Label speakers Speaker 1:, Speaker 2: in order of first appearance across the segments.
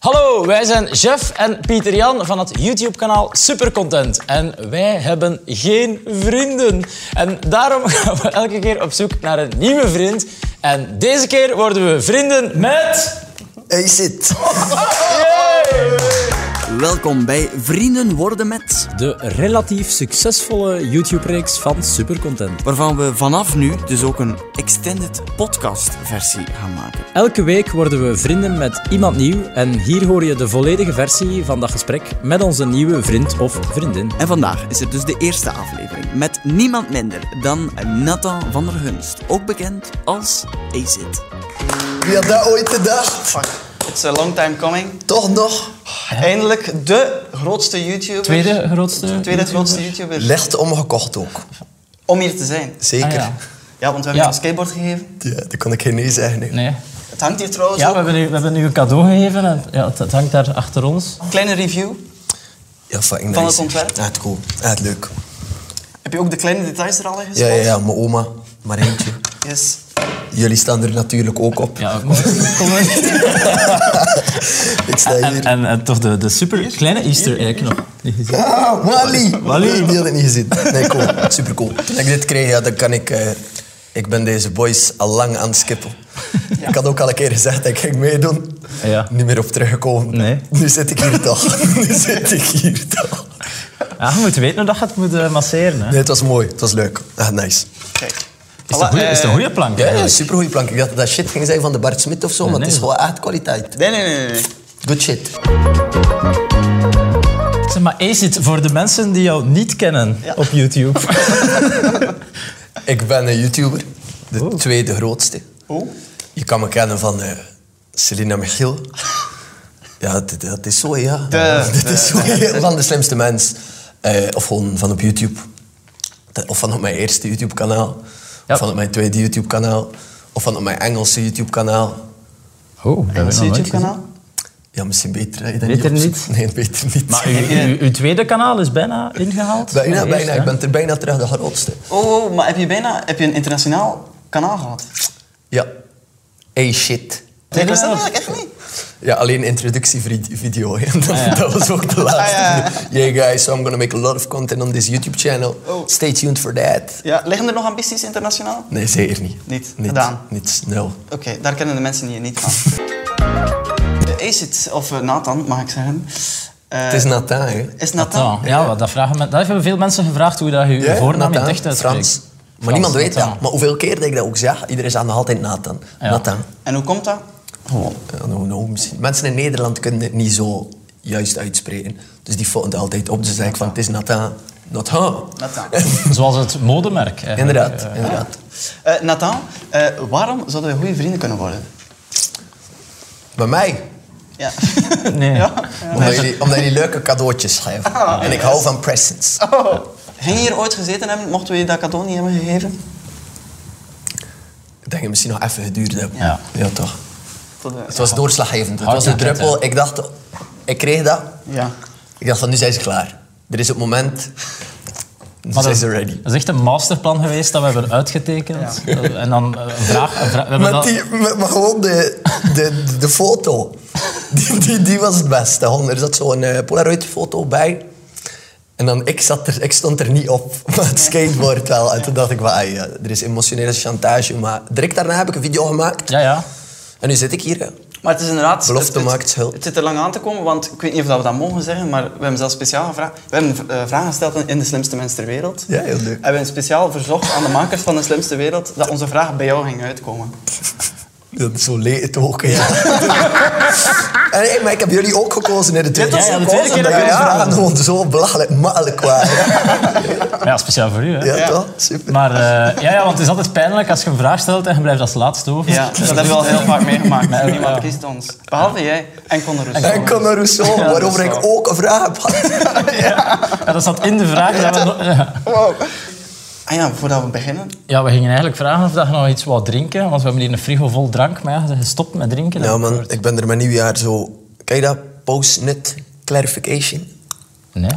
Speaker 1: Hallo, wij zijn Jeff en Pieter Jan van het YouTube-kanaal Supercontent. En wij hebben geen vrienden. En daarom gaan we elke keer op zoek naar een nieuwe vriend. En deze keer worden we vrienden met.
Speaker 2: Hey zit. Welkom bij Vrienden worden met,
Speaker 3: De relatief succesvolle YouTube-reeks van Supercontent.
Speaker 2: waarvan we vanaf nu dus ook een extended podcast versie gaan maken.
Speaker 3: Elke week worden we vrienden met iemand nieuw en hier hoor je de volledige versie van dat gesprek met onze nieuwe vriend of vriendin.
Speaker 2: En vandaag is er dus de eerste aflevering met niemand minder dan Nathan van der Hunst, ook bekend als Acid.
Speaker 4: Wie had dat ooit gedacht?
Speaker 5: It's a long time coming.
Speaker 4: Toch nog?
Speaker 5: Eindelijk de grootste YouTuber.
Speaker 3: Tweede grootste.
Speaker 5: Tweede grootste YouTuber.
Speaker 4: Licht omgekocht ook.
Speaker 5: Om hier te zijn.
Speaker 3: Ah,
Speaker 4: Zeker.
Speaker 1: Ah ja.
Speaker 4: ja.
Speaker 5: Ja, want we hebben
Speaker 1: Ja.
Speaker 5: een skateboard gegeven.
Speaker 4: dat kon ik geen nee zeggen. hè.
Speaker 1: Nee.
Speaker 5: Het hangt hier trouwens
Speaker 1: Ja, we
Speaker 5: ook.
Speaker 1: hebben, u, we hebben u een cadeau gegeven en ja, het, het hangt daar achter ons.
Speaker 5: Kleine review.
Speaker 4: Ja, fucking
Speaker 5: Van
Speaker 4: nice.
Speaker 5: het ontwerp?
Speaker 4: Ja, het cool. Ja, het leuk.
Speaker 5: Heb je ook de kleine details er al in
Speaker 4: Ja,
Speaker 5: gespot?
Speaker 4: ja, ja, mijn oma. Maar eentje.
Speaker 5: Yes.
Speaker 4: Jullie staan er natuurlijk ook op.
Speaker 1: Ja, kom.
Speaker 4: Ik sta
Speaker 3: En,
Speaker 4: hier.
Speaker 3: en, en toch de, de super kleine Easter egg nog.
Speaker 4: Ah, Wally! Wally! Die had ik niet gezien. Nee, cool. Super cool. Toen ik dit kreeg, ja, dan kan ik... eh, ik ben deze boys al lang aan het skippen. Ik had ook al een keer gezegd dat ik ging meedoen.
Speaker 3: Ja.
Speaker 4: Niet meer op teruggekomen.
Speaker 3: Nee.
Speaker 4: Nu zit ik hier toch. Nu zit ik hier toch.
Speaker 3: Ja, je moet weten hoe dat gaat moeten masseren. Hè.
Speaker 4: Nee, het was mooi. Het was leuk. Ah, nice. Ah,
Speaker 5: Kijk. eh,
Speaker 3: Is dat goeie- is dat een goede plank?
Speaker 4: eh, Ja, ja
Speaker 3: eigenlijk?
Speaker 4: supergoeie plank. Ik dacht dat dat shit ging zijn van de Bart Smit of zo, maar
Speaker 3: nee.
Speaker 4: het is gewoon echt kwaliteit.
Speaker 5: Nee, nee, nee, nee.
Speaker 4: Good shit.
Speaker 3: Zeg maar, Acid, voor de mensen die jou niet kennen op YouTube.
Speaker 4: Ik ben een YouTuber, de tweede grootste.
Speaker 5: Oh.
Speaker 4: Je kan me kennen van eh Selina Michiel. Ja, dat, dat is zo, ja.
Speaker 5: De-
Speaker 4: dat
Speaker 5: de-
Speaker 4: is zo, ja. Van de slimste mens. Eh, of gewoon van op YouTube. De- Of van op mijn eerste YouTube-kanaal. Of van op mijn tweede YouTube-kanaal. Of van op mijn Engelse YouTube-kanaal.
Speaker 3: Oh, dat
Speaker 5: Ons YouTube-kanaal.
Speaker 4: Ja, misschien beter. hè, dat
Speaker 3: Beter
Speaker 4: opzoekt. Nee, beter niet.
Speaker 3: Maar uw, uw, uw tweede kanaal is bijna ingehaald.
Speaker 4: bijna,
Speaker 3: Mijn
Speaker 4: bijna.
Speaker 3: eerste,
Speaker 4: ik
Speaker 3: hè?
Speaker 4: ben er bijna terug de grootste.
Speaker 5: Oh, oh, maar heb je bijna heb je een internationaal kanaal gehad?
Speaker 4: Ja. Hey shit.
Speaker 5: Nee, ik wist dat eigenlijk echt niet.
Speaker 4: Ja, alleen introductievideo. hè.
Speaker 3: Ah,
Speaker 4: Dat, dat was ook de laatste.
Speaker 5: ja.
Speaker 4: Yeah guys, so I'm gonna make a lot of content on this YouTube channel.
Speaker 5: Oh.
Speaker 4: Stay tuned for that.
Speaker 5: Ja, liggen er nog ambities internationaal?
Speaker 4: Nee, zeker niet.
Speaker 5: Niet
Speaker 4: niet
Speaker 5: gedaan. Eh.
Speaker 4: Niet snel.
Speaker 5: Oké, daar kennen de mensen hier niet van. De Acid, of eh, Nathan, mag ik zeggen. Eh,
Speaker 4: Het is Nathan, hè.
Speaker 5: is Nathan.
Speaker 3: Ja, ja, wat dat, vragen men- dat hebben veel mensen gevraagd hoe dat je je
Speaker 4: Ja,
Speaker 3: voornaam in
Speaker 4: Nathan,
Speaker 3: het echt uitspreekt.
Speaker 4: Frans. Maar
Speaker 3: Frans,
Speaker 4: niemand weet
Speaker 3: Nathan.
Speaker 4: dat. Maar hoeveel keer dat ik dat ook zeg, iedereen zegt nog altijd Nathan.
Speaker 3: Ja.
Speaker 4: Nathan.
Speaker 5: En hoe komt dat?
Speaker 4: Ja, nou, nou, misschien. Mensen in Nederland kunnen het niet zo juist uitspreken. Dus die fouten het altijd op. Dus dan zeg ik van, het is Nathan. Nathan.
Speaker 5: Nathan.
Speaker 3: Zoals het modemerk. eigenlijk.
Speaker 4: Inderdaad, inderdaad.
Speaker 5: Eh, Nathan, eh, waarom zouden we goede vrienden kunnen worden?
Speaker 4: Bij mij.
Speaker 5: Ja.
Speaker 3: Nee.
Speaker 5: Ja?
Speaker 4: Omdat jullie, omdat jullie leuke cadeautjes geven.
Speaker 3: Ah.
Speaker 4: en ik hou van presents.
Speaker 5: Ging je Oh. hier ooit gezeten hebben, mochten we je dat cadeau niet hebben gegeven?
Speaker 4: Ik denk dat het misschien nog even geduurd hebben.
Speaker 3: Ja.
Speaker 4: toch.
Speaker 5: Tot, eh,
Speaker 4: Het was doorslaggevend. Het
Speaker 3: Hard
Speaker 4: was de
Speaker 3: weekend,
Speaker 4: druppel. Ik dacht, ik kreeg dat.
Speaker 5: Ja.
Speaker 4: Ik dacht van, nu zijn ze klaar. Er is het moment. Nu
Speaker 3: Maar
Speaker 4: zijn
Speaker 3: dat,
Speaker 4: ze ready.
Speaker 3: dat is echt een masterplan geweest dat we hebben uitgetekend. Eh, En dan eh, een vraag... Een vraag we hebben
Speaker 4: Met
Speaker 3: dat-
Speaker 4: die, met, maar gewoon de, de, de, de foto. Die, die, die was het beste. Gewoon, Er zat zo'n eh, Polaroid-foto bij. En dan, ik, zat er, ik stond er niet op, maar het skateboard wel. En toen dacht ik, van, ah, ja, er is emotionele chantage. Maar direct daarna heb ik een video gemaakt.
Speaker 3: Ja, ja.
Speaker 4: En nu zit ik hier. hè.
Speaker 5: Maar het is inderdaad...
Speaker 4: Belofte
Speaker 5: het- het-
Speaker 4: maakt schuld.
Speaker 5: Het zit er lang aan te komen, want ik weet niet of dat we dat mogen zeggen, maar we hebben zelfs speciaal gevraagd... We hebben eh, vragen gesteld in De Slimste Mens ter Wereld.
Speaker 4: Ja, heel leuk.
Speaker 5: En we hebben speciaal verzocht aan de makers van De Slimste Wereld dat onze vraag bij jou ging uitkomen.
Speaker 4: Dat is zo leed het ook, ja. en, hey, maar ik heb jullie ook gekozen in de tweede
Speaker 3: was Ja, de tweede keer dat jullie
Speaker 4: Ja,
Speaker 3: vragen.
Speaker 4: gewoon zo belachelijk makkelijk waren.
Speaker 3: Ja, speciaal voor u. Hè.
Speaker 4: Ja, toch? Super.
Speaker 3: Maar eh, ja, ja, want het is altijd pijnlijk als je een vraag stelt en je blijft als laatste over.
Speaker 5: Ja, dat hebben we al heel vaak meegemaakt.
Speaker 3: Ja.
Speaker 5: Niemand kiest ons. Behalve jij en Conor Rousseau.
Speaker 4: En Conor Rousseau,
Speaker 3: Ja,
Speaker 4: waarover
Speaker 3: dat is
Speaker 4: ik ook een vraag heb gehad.
Speaker 3: Ja, dat zat in de vraag. Dat we, nog- ja.
Speaker 5: Ah ja, voordat we beginnen.
Speaker 3: Ja, we gingen eigenlijk vragen of dat je nog iets wou drinken, want we hebben hier een frigo vol drank, maar ja, je bent gestopt met drinken.
Speaker 4: Ja, Nou, man, ik ben er mijn nieuwjaar zo... Kijk dat, post-nut clarification.
Speaker 3: Nee.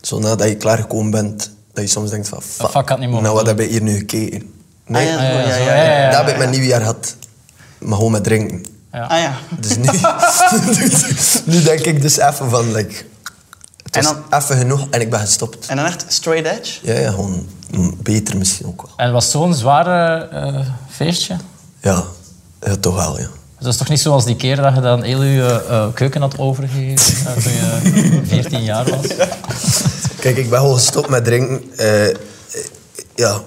Speaker 4: Zo nadat je klaargekomen bent, dat je soms denkt van... Fuck,
Speaker 3: fuck, had niet mogen
Speaker 4: Nou, wat
Speaker 3: doen.
Speaker 4: heb ik hier nu gekeken? Nee,
Speaker 5: Ah, ja,
Speaker 3: Ah,
Speaker 5: ja,
Speaker 3: zo,
Speaker 5: ja, ja.
Speaker 4: dat heb ik mijn nieuwjaar gehad. Maar gewoon met drinken.
Speaker 5: Ah ja.
Speaker 4: Dus nu, dus nu denk ik dus even van, like, het
Speaker 5: En
Speaker 4: was
Speaker 5: dan-
Speaker 4: even genoeg en ik ben gestopt.
Speaker 5: En dan echt straight edge.
Speaker 4: Ja, ja, gewoon mm, beter misschien ook wel.
Speaker 1: En was het zo'n zware eh, feestje?
Speaker 4: Ja, ja toch wel, ja.
Speaker 1: Dus dat is toch niet zoals die keer dat je dan heel je eh, keuken had overgegeven eh, toen je 14 jaar was?
Speaker 4: Kijk, ik ben gewoon gestopt met drinken. Eh, eh, ja,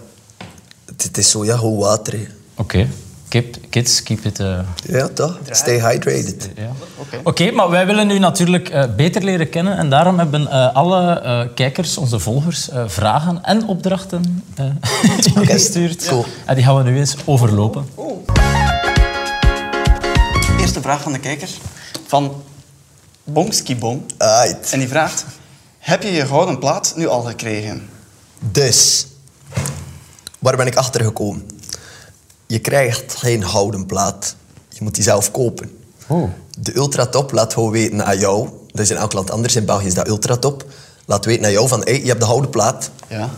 Speaker 4: het, het is zo, ja, gewoon water. hè.
Speaker 1: Oké. Kip- Kids, keep it... eh,
Speaker 4: Ja, toch? Stay hydrated.
Speaker 1: Ja. Oké,
Speaker 5: Oké.
Speaker 1: maar wij willen u natuurlijk eh, beter leren kennen en daarom hebben eh, alle eh, kijkers, onze volgers, eh, vragen en opdrachten eh, ingestuurd.
Speaker 4: cool.
Speaker 1: En die gaan we nu eens overlopen.
Speaker 5: Eerste vraag van de kijker. Van Bongskibong.
Speaker 4: Right.
Speaker 5: En die vraagt... Heb je je gouden plaat nu al gekregen?
Speaker 4: Dus, waar ben ik achter gekomen? Je krijgt geen houden plaat. Je moet die zelf kopen.
Speaker 1: Oh.
Speaker 4: De ultratop laat gewoon weten aan jou. Dat is in elk land anders. In België is dat ultratop. Laat weten aan jou van, hey, je hebt de houden plaat.
Speaker 5: Ja.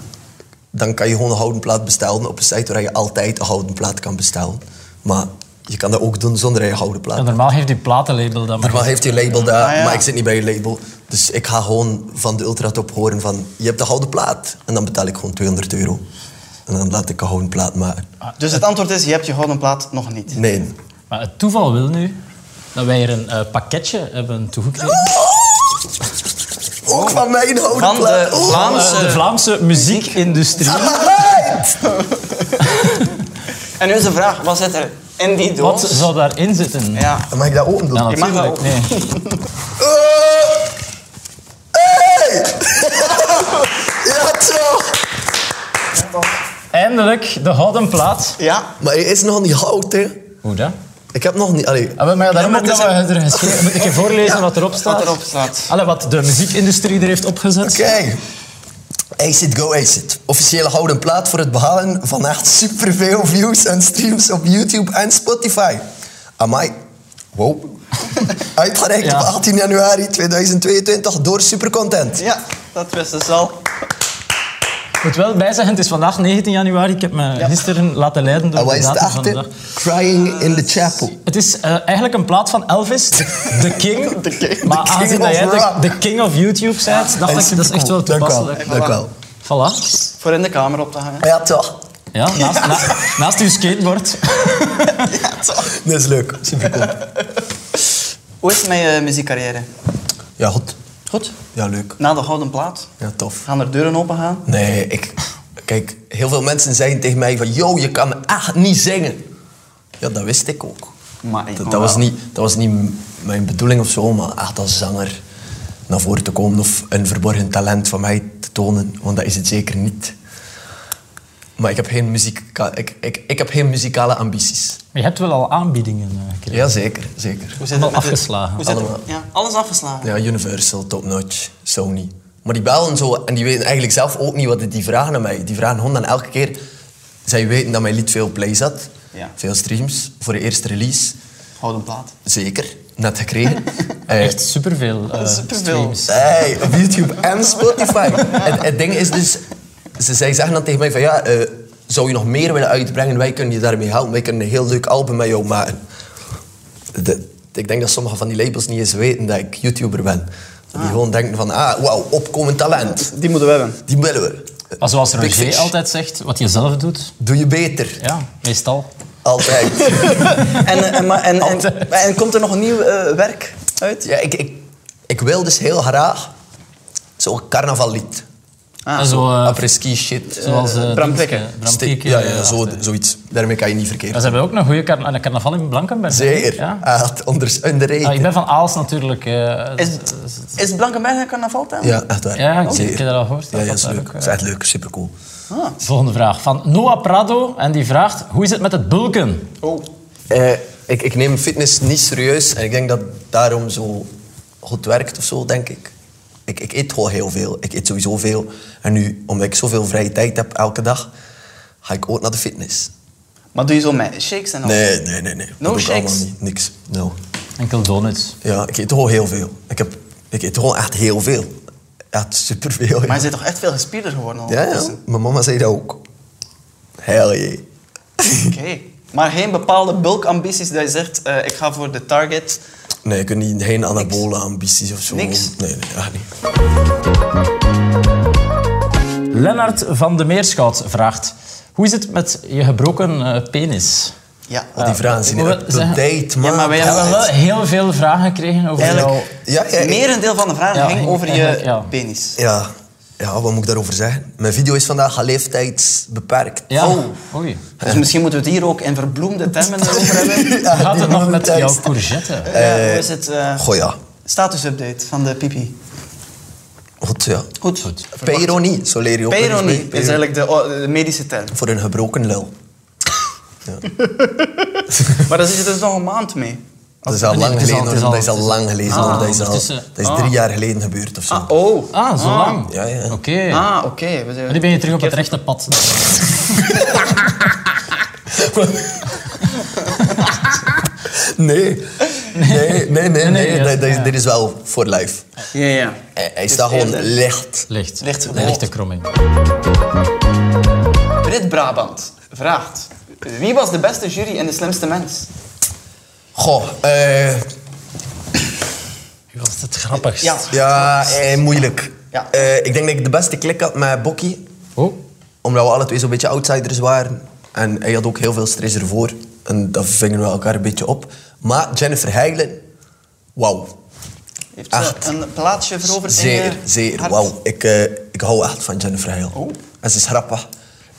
Speaker 4: Dan kan je gewoon een houden plaat bestellen op een site waar je altijd een houden plaat kan bestellen. Maar je kan dat ook doen zonder je houden plaat.
Speaker 1: Ja, normaal heeft die platenlabel dan
Speaker 4: Normaal
Speaker 1: maar.
Speaker 4: heeft je label daar,
Speaker 5: Ah, ja.
Speaker 4: maar ik zit niet bij je label. Dus ik ga gewoon van de ultratop horen van, je hebt de gouden plaat. En dan betaal ik gewoon 200 euro. En dan laat ik een gouden plaat maken.
Speaker 5: Dus het antwoord is, je hebt je gouden plaat nog niet.
Speaker 4: Nee.
Speaker 1: Maar het toeval wil nu dat wij hier een eh, pakketje hebben toegekregen.
Speaker 5: Oh,
Speaker 4: Ook van mijn gouden
Speaker 5: Van de
Speaker 4: plaat. Oh, Oeh.
Speaker 5: Vlaamse-
Speaker 1: Eh, de Vlaamse muziekindustrie.
Speaker 4: Alright.
Speaker 5: En nu is de vraag, wat zit er in die
Speaker 1: Wat
Speaker 5: doos?
Speaker 1: zou daarin zitten?
Speaker 5: Ja.
Speaker 4: Dan mag ik dat open doen?
Speaker 1: Ja,
Speaker 5: Je mag dat ook.
Speaker 1: Nee.
Speaker 4: Eh. Hey! ja, toch.
Speaker 1: Eindelijk de gouden plaat.
Speaker 5: Ja.
Speaker 4: Maar hij is nog niet goud, hè.
Speaker 1: Hoe dat?
Speaker 4: Ik heb nog niet... Allee.
Speaker 1: Ah, wel, maar ja, daarom
Speaker 4: Ja,
Speaker 1: ook
Speaker 4: maar
Speaker 1: dat
Speaker 4: het
Speaker 1: we
Speaker 4: is
Speaker 1: er geschreven... Moet ik je voorlezen wat erop staat?
Speaker 5: Wat erop staat.
Speaker 1: Allee, wat de muziekindustrie er heeft opgezet.
Speaker 4: Oké. Acid Go Acid. Officiële gouden plaat voor het behalen van echt superveel views en streams op YouTube en Spotify. Amai. Wow. Uitgereikt
Speaker 1: Ja.
Speaker 4: op 18 januari 2022 door Supercontent.
Speaker 5: Ja, dat wisten ze al.
Speaker 1: Ik moet wel bij zeggen, het is vandaag 19 januari. Ik heb me gisteren laten leiden door
Speaker 4: En Ah, wat
Speaker 1: de
Speaker 4: is het
Speaker 1: datum van de
Speaker 4: achter?
Speaker 1: dag.
Speaker 4: Crying in the Chapel.
Speaker 1: Het is eh, eigenlijk een plaat van Elvis, The King.
Speaker 5: king.
Speaker 1: Maar
Speaker 4: The king
Speaker 1: aangezien dat
Speaker 4: of
Speaker 1: jij de,
Speaker 4: rock.
Speaker 1: de King of YouTube bent, dacht ik, dat is echt wel
Speaker 4: Dank u wel,
Speaker 1: toepasselijk.
Speaker 4: Dank u wel.
Speaker 1: Voilà.
Speaker 5: Voor in de kamer op te hangen.
Speaker 4: Ja, toch.
Speaker 1: Ja, naast, na- naast uw skateboard.
Speaker 4: Dat is leuk. Supercool.
Speaker 5: Hoe is het met je muziekcarrière?
Speaker 4: Ja, goed.
Speaker 5: Goed.
Speaker 4: Ja, leuk.
Speaker 5: Na de gouden plaat
Speaker 4: Ja, tof.
Speaker 5: gaan er deuren open gaan.
Speaker 4: Nee, ik... Kijk, heel veel mensen zeiden tegen mij van... Yo, je kan echt niet zingen. Ja, dat wist ik ook.
Speaker 5: Maar ik
Speaker 4: Dat,
Speaker 5: kon
Speaker 4: dat, was
Speaker 5: wel.
Speaker 4: niet, dat was niet m- mijn bedoeling of zo, maar echt als zanger naar voren te komen of een verborgen talent van mij te tonen, want dat is het zeker niet. Maar ik heb geen, muzika- ik, ik, ik heb geen muzikale ambities.
Speaker 1: Je hebt wel al aanbiedingen eh, gekregen.
Speaker 4: Jazeker, zeker.
Speaker 5: Hoe zit het
Speaker 1: Allemaal
Speaker 5: met de-
Speaker 1: afgeslagen.
Speaker 5: hoe zit het-
Speaker 4: Allemaal.
Speaker 5: Ja, alles afgeslagen.
Speaker 4: Ja, Universal, Top Notch, Sony. Maar die bellen zo en die weten eigenlijk zelf ook niet wat het- die vragen aan mij. Die vragen gewoon dan elke keer... Zij weten dat mijn lied veel plays had,
Speaker 5: Ja.
Speaker 4: veel streams, voor de eerste release.
Speaker 5: Gouden plaat.
Speaker 4: Zeker, net gekregen. Eh,
Speaker 1: Echt superveel eh,
Speaker 5: Superveel.
Speaker 1: streams.
Speaker 4: Hey, op YouTube en Spotify. En het ding is dus, ze, zij zeggen dan tegen mij van ja, eh, zou je nog meer willen uitbrengen? Wij kunnen je daarmee helpen. Wij kunnen een heel leuk album met jou maken. De- ik denk dat sommige van die labels niet eens weten dat ik YouTuber ben. Dat Die gewoon denken van, ah, wauw, opkomend talent.
Speaker 5: Die moeten we hebben.
Speaker 4: Die willen we.
Speaker 1: Maar zoals
Speaker 4: Big
Speaker 1: Roger
Speaker 4: Fish.
Speaker 1: altijd zegt, wat je zelf doet,
Speaker 4: Doe je beter.
Speaker 1: ja, meestal.
Speaker 4: Altijd.
Speaker 5: En, eh, en, maar- en, en,
Speaker 1: Altijd.
Speaker 5: en komt er nog een nieuw eh, werk uit?
Speaker 4: ja, ik, ik, ik wil dus heel graag zo'n carnavallied.
Speaker 5: Ah,
Speaker 1: zo, eh,
Speaker 4: Après-ski shit.
Speaker 1: zoals... eh,
Speaker 5: Bram
Speaker 1: ding-
Speaker 5: Krikke.
Speaker 1: eh, Bram
Speaker 4: Ste-
Speaker 1: Krikke,
Speaker 4: ja,
Speaker 1: eh,
Speaker 4: ja, zo,
Speaker 1: achter.
Speaker 4: zoiets. Daarmee kan je niet verkeerd.
Speaker 1: Ja, ze hebben ook een goede carna- een carnaval in Blankenberg. hè?
Speaker 4: Zeker. Ah,
Speaker 1: Ja. Ah,
Speaker 4: Hij had onder, onder
Speaker 1: Ja, ik ben van Aals natuurlijk. eh,
Speaker 5: is,
Speaker 1: dat-
Speaker 5: is Blankenberg een carnavaltuin?
Speaker 4: Ja, echt waar.
Speaker 1: Ja, ik-
Speaker 4: Zeker.
Speaker 1: ik heb dat al gehoord,
Speaker 4: Ja,
Speaker 1: dat
Speaker 4: ja,
Speaker 1: dat
Speaker 4: is
Speaker 1: daar
Speaker 4: leuk.
Speaker 1: ook, eh,
Speaker 4: is echt leuk. Supercool.
Speaker 1: Volgende vraag van Noah Prado. En die vraagt, hoe is het met het bulken?
Speaker 5: Oh.
Speaker 4: Eh, ik, ik neem fitness niet serieus en ik denk dat daarom zo goed werkt of zo, denk ik. ik. Ik eet gewoon heel veel. Ik eet sowieso veel. En nu, omdat ik zoveel vrije tijd heb elke dag, ga ik ook naar de fitness.
Speaker 5: Maar doe je zo met shakes en al?
Speaker 1: Nou.
Speaker 4: Nee, nee, nee. nee.
Speaker 5: No
Speaker 4: doe ik allemaal
Speaker 5: shakes?
Speaker 4: niet. Niks. No.
Speaker 1: Enkel donuts.
Speaker 4: Ja, ik eet gewoon heel veel. Ik, heb, ik eet gewoon echt heel veel. Echt superveel. ja.
Speaker 5: Maar je bent toch echt veel
Speaker 1: Oh,
Speaker 5: gespierder geworden al?
Speaker 4: Ja, ja.
Speaker 5: Oké.
Speaker 4: Mijn mama zei dat ook. Hell yeah.
Speaker 5: Maar geen bepaalde bulkambities dat je zegt, eh, ik ga voor de target.
Speaker 4: Nee, ik heb niet, geen anabole ambities of zo.
Speaker 5: Niks?
Speaker 4: Nee, nee, echt niet.
Speaker 1: Lennart van de Meerschot vraagt... Hoe is het met je gebroken eh, penis?
Speaker 5: Ja. eh,
Speaker 4: Al Oh, die vragen zijn
Speaker 1: ik wil
Speaker 4: up to
Speaker 1: zeggen-
Speaker 4: date, man.
Speaker 5: maar wij
Speaker 1: We hebben wel heel veel vragen gekregen over
Speaker 5: Eigenlijk-
Speaker 1: jouw...
Speaker 4: Ja, ja,
Speaker 5: Het
Speaker 4: ik-
Speaker 5: merendeel van de vragen
Speaker 1: Ja,
Speaker 5: ging
Speaker 1: ging
Speaker 5: over je
Speaker 1: eigenlijk, ja.
Speaker 5: penis.
Speaker 4: Ja. ja, wat moet ik daarover zeggen? Mijn video is vandaag al leeftijdsbeperkt.
Speaker 1: Ja.
Speaker 5: Oh.
Speaker 1: Oei.
Speaker 5: Dus misschien moeten we het hier ook in verbloemde termen over hebben.
Speaker 4: Ja,
Speaker 1: Gaat
Speaker 4: die
Speaker 1: het nog met
Speaker 4: monetize.
Speaker 1: jouw courgette?
Speaker 5: Eh, hoe is het? eh,
Speaker 4: Goh ja.
Speaker 5: Status-update van de pipi.
Speaker 4: Goed, ja.
Speaker 5: Goed. Goed.
Speaker 4: Peironie, zo leer je ook. nog eens mee.
Speaker 5: Peyronie is eigenlijk de, o- de medische term.
Speaker 4: Voor een gebroken lul.
Speaker 5: Maar daar zit je dus nog een maand mee.
Speaker 4: Dat is al
Speaker 1: Oh, nee,
Speaker 4: lang
Speaker 1: het is al-
Speaker 4: geleden, hoor.
Speaker 1: het is
Speaker 4: Dat
Speaker 1: al- Ah,
Speaker 4: is al lang geleden, hoor. Dat is al-
Speaker 1: ondertussen.
Speaker 4: dat is drie jaar geleden gebeurd of zo.
Speaker 5: Ah, oh.
Speaker 1: Ah, zo lang?
Speaker 4: Ja, ja.
Speaker 1: Oké.
Speaker 5: Ah, oké. We zijn-
Speaker 1: Nu ben je terug op het rechte pad.
Speaker 4: Nee. Nee, nee, nee. nee,
Speaker 1: nee, ja.
Speaker 4: Dat- dat is- Dit is wel voor life.
Speaker 5: Ja, ja.
Speaker 4: Hij, hij staat gewoon
Speaker 5: eerder.
Speaker 4: licht.
Speaker 1: Licht.
Speaker 5: Licht.
Speaker 1: Een lichte kromming.
Speaker 5: Brit Brabant vraagt... Wie was de beste jury en de slimste mens?
Speaker 4: Goh, eh...
Speaker 1: Was het grappig?
Speaker 5: Ja.
Speaker 4: Ja, eh, moeilijk.
Speaker 5: Ja.
Speaker 4: Eh, ik denk dat ik de beste klik had met Bokkie.
Speaker 1: Oh.
Speaker 4: Omdat we alle twee zo'n beetje outsiders waren. En hij had ook heel veel stress ervoor. En dat vingen we elkaar een beetje op. Maar Jennifer Heijlen, wauw.
Speaker 5: Heeft ze
Speaker 4: Echt.
Speaker 5: een plaatsje veroverd in
Speaker 4: Zeer,
Speaker 5: je
Speaker 4: zeer,
Speaker 5: hart?
Speaker 4: wauw. Ik, eh, ik hou echt van Jennifer Heijlen.
Speaker 5: Oh.
Speaker 4: En ze is grappig.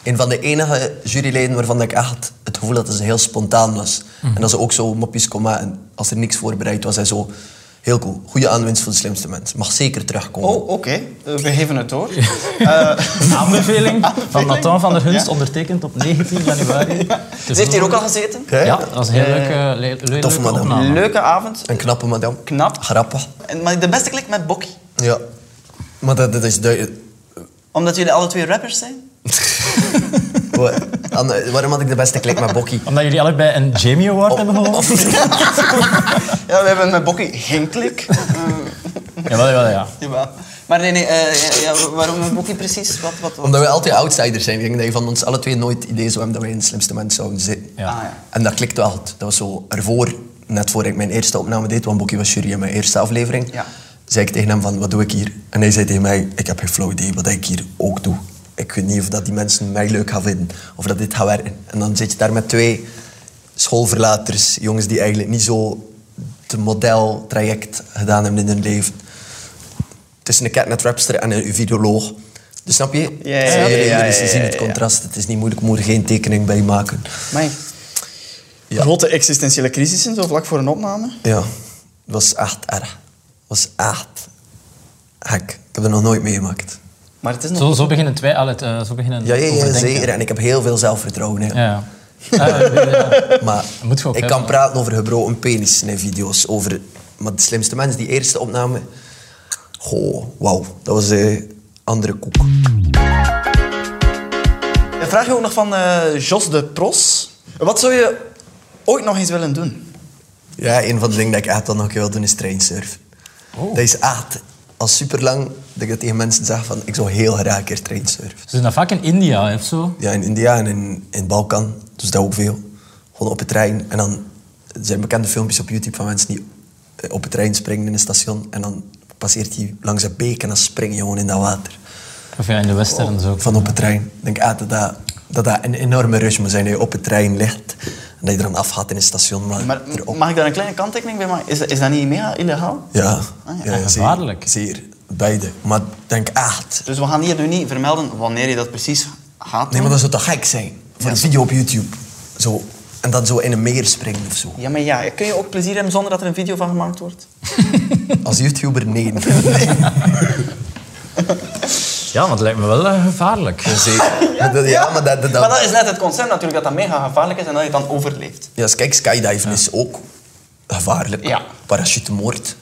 Speaker 4: Een van de enige juryleden waarvan ik echt het gevoel had dat ze heel spontaan was.
Speaker 5: Mhm.
Speaker 4: En dat ze ook zo mopjes kon maken. Als er niks voorbereid was en zo. Heel cool. Goede aanwinst voor de slimste mens. Mag zeker terugkomen.
Speaker 5: Oh, oké. Eh, We geven het door.
Speaker 1: Aanbeveling van Nathan van der Hunst, ondertekend op 19 januari.
Speaker 5: Ze heeft hier ook al gezeten.
Speaker 4: Hè?
Speaker 1: Ja, dat was een heel leuke, le- le-
Speaker 4: tof,
Speaker 1: leuke
Speaker 4: madame.
Speaker 1: opname.
Speaker 5: Leuke avond.
Speaker 4: Een knappe madame.
Speaker 5: Knap.
Speaker 4: Grappig.
Speaker 5: En- Maar de beste klik met Bokkie.
Speaker 4: Ja. Maar dat, dat is duidelijk.
Speaker 5: Omdat jullie alle twee rappers zijn.
Speaker 4: Wa- Anne, Waarom had ik de beste klik met Bokkie?
Speaker 1: Omdat jullie allebei een Jamie Award
Speaker 4: Oh.
Speaker 1: hebben gewonnen.
Speaker 5: Ja, we hebben met Bokkie geen klik. Eh,
Speaker 1: Jawel, jawel, ja.
Speaker 5: Jawel. Maar nee, nee, eh, ja, ja, waarom een boekje precies? Wat, wat, wat?
Speaker 4: Omdat we altijd outsiders zijn. Ik denk dat je van ons alle twee nooit het idee zou hebben dat wij in de slimste mensen zouden zitten.
Speaker 1: Ja.
Speaker 5: Ah, ja.
Speaker 4: En dat klikt wel goed. Dat was zo ervoor, net voor ik mijn eerste opname deed, want Bokkie was jury in mijn eerste aflevering,
Speaker 5: Ja.
Speaker 4: zei ik tegen hem van, wat doe ik hier? En hij zei tegen mij, ik heb geen flauw idee wat ik hier ook doe. Ik weet niet of dat die mensen mij leuk gaan vinden, of dat dit gaat werken. En dan zit je daar met twee schoolverlaters, jongens die eigenlijk niet zo het modeltraject gedaan hebben in hun leven. Tussen een catnet rapster en een videoloog. Dus snap je?
Speaker 5: Ja, ja, ja,
Speaker 4: Jullie-
Speaker 5: ja, ja,
Speaker 4: jullie zien
Speaker 5: ja,
Speaker 4: het
Speaker 5: ja.
Speaker 4: contrast. Het is niet moeilijk, ik moet er geen tekening bij maken.
Speaker 5: Amai. Grote existentiële crisissen, zo vlak voor een opname.
Speaker 4: Ja, het was echt erg. Het was echt gek. Ik heb dat nog nooit meegemaakt.
Speaker 5: Maar het is nog...
Speaker 1: Zo, zo beginnen twee al het, eh, zo beginnen
Speaker 4: Ja, ja, ja,
Speaker 1: overdenken.
Speaker 4: zeker. En ik heb heel veel zelfvertrouwen. hè.
Speaker 1: Ja, ja. Eh, eh, ja.
Speaker 4: Maar
Speaker 1: moet je ook
Speaker 4: ik
Speaker 1: hebben,
Speaker 4: kan
Speaker 1: hè.
Speaker 4: praten over gebroken penis in video's. Over, maar de slimste mens, die eerste opname... Goh, wauw. Dat was een andere koek.
Speaker 5: Een vraag ook nog van eh, Jos de Pros. Wat zou je ooit nog eens willen doen?
Speaker 4: Ja, een van de dingen dat ik echt dan nog een keer wil doen is trainsurfen. Dat is echt al super lang dat ik dat tegen mensen zeg van ik zou heel graag een keer trainsurfen.
Speaker 1: Ze doen dat vaak in India hè, of zo.
Speaker 4: Ja, in India en in, in Balkan dus dat ook veel. Gewoon op het trein. En dan er zijn bekende filmpjes op YouTube van mensen die eh, op het trein springen in een station. En dan passeert hij langs een beek en dan spring je gewoon in dat water.
Speaker 1: Of ja, in de westerns ook.
Speaker 4: Van op het trein. Ik denk ah, dat, dat, dat dat een enorme rush moet zijn dat je op het trein ligt. En dat je er dan afgaat in een station. Maar,
Speaker 5: Maar,
Speaker 4: erop-
Speaker 5: mag ik daar een kleine kanttekening bij maken? Is, dat- is dat niet mega illegaal?
Speaker 4: Ja,
Speaker 5: Ah, ja.
Speaker 4: ja,
Speaker 1: En
Speaker 4: zeer.
Speaker 1: gevaarlijk.
Speaker 4: Zeer, beide. Maar ik denk echt.
Speaker 5: Dus we gaan hier nu niet vermelden wanneer je dat precies gaat
Speaker 4: Nee,
Speaker 5: doen.
Speaker 4: maar dat zou toch gek zijn? Voor een video op YouTube. Zo. En dan zo in een meer springen of zo.
Speaker 5: Ja, maar ja, kun je ook plezier hebben zonder dat er een video van gemaakt wordt?
Speaker 4: Als YouTuber, nee.
Speaker 1: Ja, want het lijkt me wel eh, gevaarlijk.
Speaker 4: Zeker. Maar dat- Ja, maar dat... dat,
Speaker 5: Maar
Speaker 4: dat
Speaker 5: dat is net het concept natuurlijk, dat dat mega gevaarlijk is en dat je het dan overleeft.
Speaker 4: Ja, dus kijk, skydiven is ook gevaarlijk.
Speaker 5: Ja.
Speaker 4: Parachutemoord.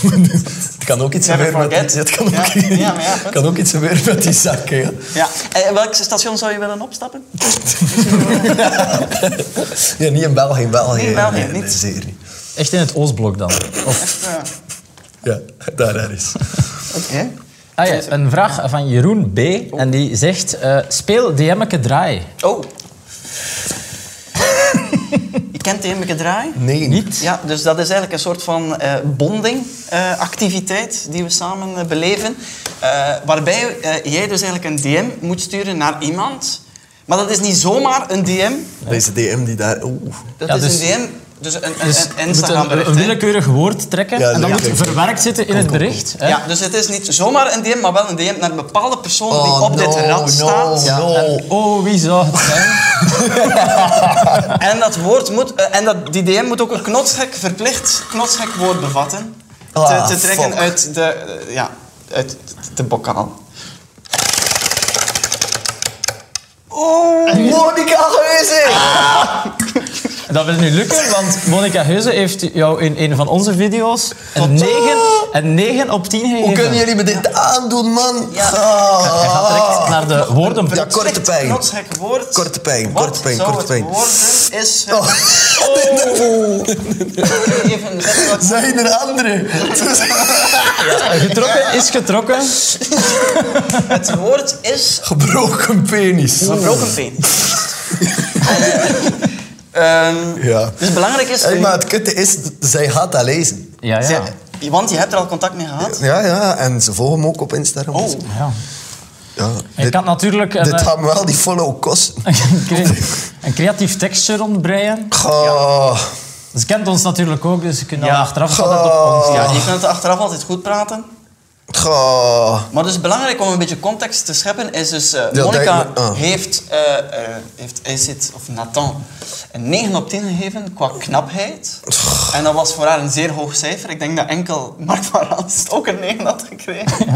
Speaker 4: het kan ook iets
Speaker 5: Never
Speaker 4: gebeuren met die...
Speaker 5: forget.
Speaker 4: Het kan ook,
Speaker 5: Ja, ja, maar ja,
Speaker 4: het kan ook iets gebeuren met die zak, hè, ja.
Speaker 5: Ja. En welk station zou je willen opstappen?
Speaker 4: Ja, niet in België, in België.
Speaker 5: Nee, in België,
Speaker 4: nee, nee,
Speaker 5: niet.
Speaker 4: zeker niet.
Speaker 1: Echt in het Oostblok dan.
Speaker 5: Ja.
Speaker 4: Ja, daar, daar is.
Speaker 5: Oké.
Speaker 1: Ah, ja, een vraag van Jeroen B. En die zegt, eh, speel DM'ke draai.
Speaker 5: Oh. Kent die Emmeke Draai?
Speaker 4: Nee.
Speaker 1: Niet?
Speaker 5: Ja, dus dat is eigenlijk een soort van eh bonding-activiteit die we samen eh, beleven. Eh, waarbij eh, jij dus eigenlijk een DM moet sturen naar iemand. Maar dat is niet zomaar een DM.
Speaker 4: Deze DM die daar... Oeh.
Speaker 5: Dat
Speaker 1: Ja,
Speaker 5: is
Speaker 1: dus-
Speaker 5: een DM, dus een, een,
Speaker 1: Dus
Speaker 5: een
Speaker 1: je moet een,
Speaker 5: Instagram-bericht.
Speaker 1: een
Speaker 5: hè.
Speaker 1: willekeurig woord trekken
Speaker 4: Ja,
Speaker 1: en dat
Speaker 4: ja.
Speaker 1: moet
Speaker 4: Kijk.
Speaker 1: verwerkt zitten in het bericht. hè.
Speaker 5: Ja, dus het is niet zomaar een DM, maar wel een DM naar een bepaalde persoon
Speaker 4: Oh,
Speaker 5: die op dit
Speaker 4: no,
Speaker 5: rad
Speaker 4: no,
Speaker 5: staat.
Speaker 4: no.
Speaker 1: En, oh, wie zou het zijn?
Speaker 5: En dat woord moet, eh, en dat, die DM moet ook een knotsgek, verplicht knotsgek woord bevatten. Te,
Speaker 4: Ah,
Speaker 5: te trekken
Speaker 4: fuck.
Speaker 5: uit de, eh, ja, uit de bokaal.
Speaker 4: Monica Geuze!
Speaker 1: Dat wil nu lukken, want Monica Heuze heeft jou in een van onze video's een 9, een 9 op 10 gegeven.
Speaker 4: Hoe kunnen jullie me dit aandoen, man?
Speaker 5: Ja.
Speaker 1: Hij gaat direct
Speaker 4: Ah.
Speaker 1: naar de woorden.
Speaker 4: Ja, korte pijn.
Speaker 5: Knotsgek woord.
Speaker 4: Korte pijn,
Speaker 5: Wat
Speaker 4: korte pijn,
Speaker 5: zou
Speaker 4: korte
Speaker 5: het
Speaker 4: pijn.
Speaker 5: woorden is... eh,
Speaker 4: Oh.
Speaker 5: Even zeggen wat-
Speaker 4: Zijn er anderen?
Speaker 1: Getrokken is getrokken.
Speaker 5: het woord is
Speaker 4: Gebroken penis.
Speaker 5: gebroken peen. Ehm,
Speaker 4: Ja.
Speaker 5: Dus belangrijk is...
Speaker 4: Hey, maar het kutte is, zij gaat dat lezen.
Speaker 1: Ja, ja.
Speaker 5: Ze- Want je hebt er al contact mee gehad.
Speaker 4: Ja, ja, en ze volgen hem ook op Instagram.
Speaker 5: Oh.
Speaker 1: ja.
Speaker 4: Ja,
Speaker 1: Ik
Speaker 4: dit,
Speaker 1: kan natuurlijk een,
Speaker 4: dit
Speaker 1: eh,
Speaker 4: gaat me wel die follow kosten.
Speaker 1: een, cre- een creatief tekstje rondbreien.
Speaker 4: Ah,
Speaker 1: Ze kent ons natuurlijk ook, dus ze kunnen
Speaker 5: Ja.
Speaker 1: dan achteraf altijd op ons.
Speaker 5: Ja, je kunt achteraf altijd goed praten.
Speaker 4: ah.
Speaker 5: Maar dus belangrijk om een beetje context te scheppen is dus... eh,
Speaker 4: Ja,
Speaker 5: Monica
Speaker 4: denk me- ah.
Speaker 5: heeft, eh eh heeft Acid, of Nathan, een 9 op 10 gegeven qua knapheid. En dat was voor haar een zeer hoog cijfer. Ik denk dat enkel Mark van Ranst ook een 9 had gekregen.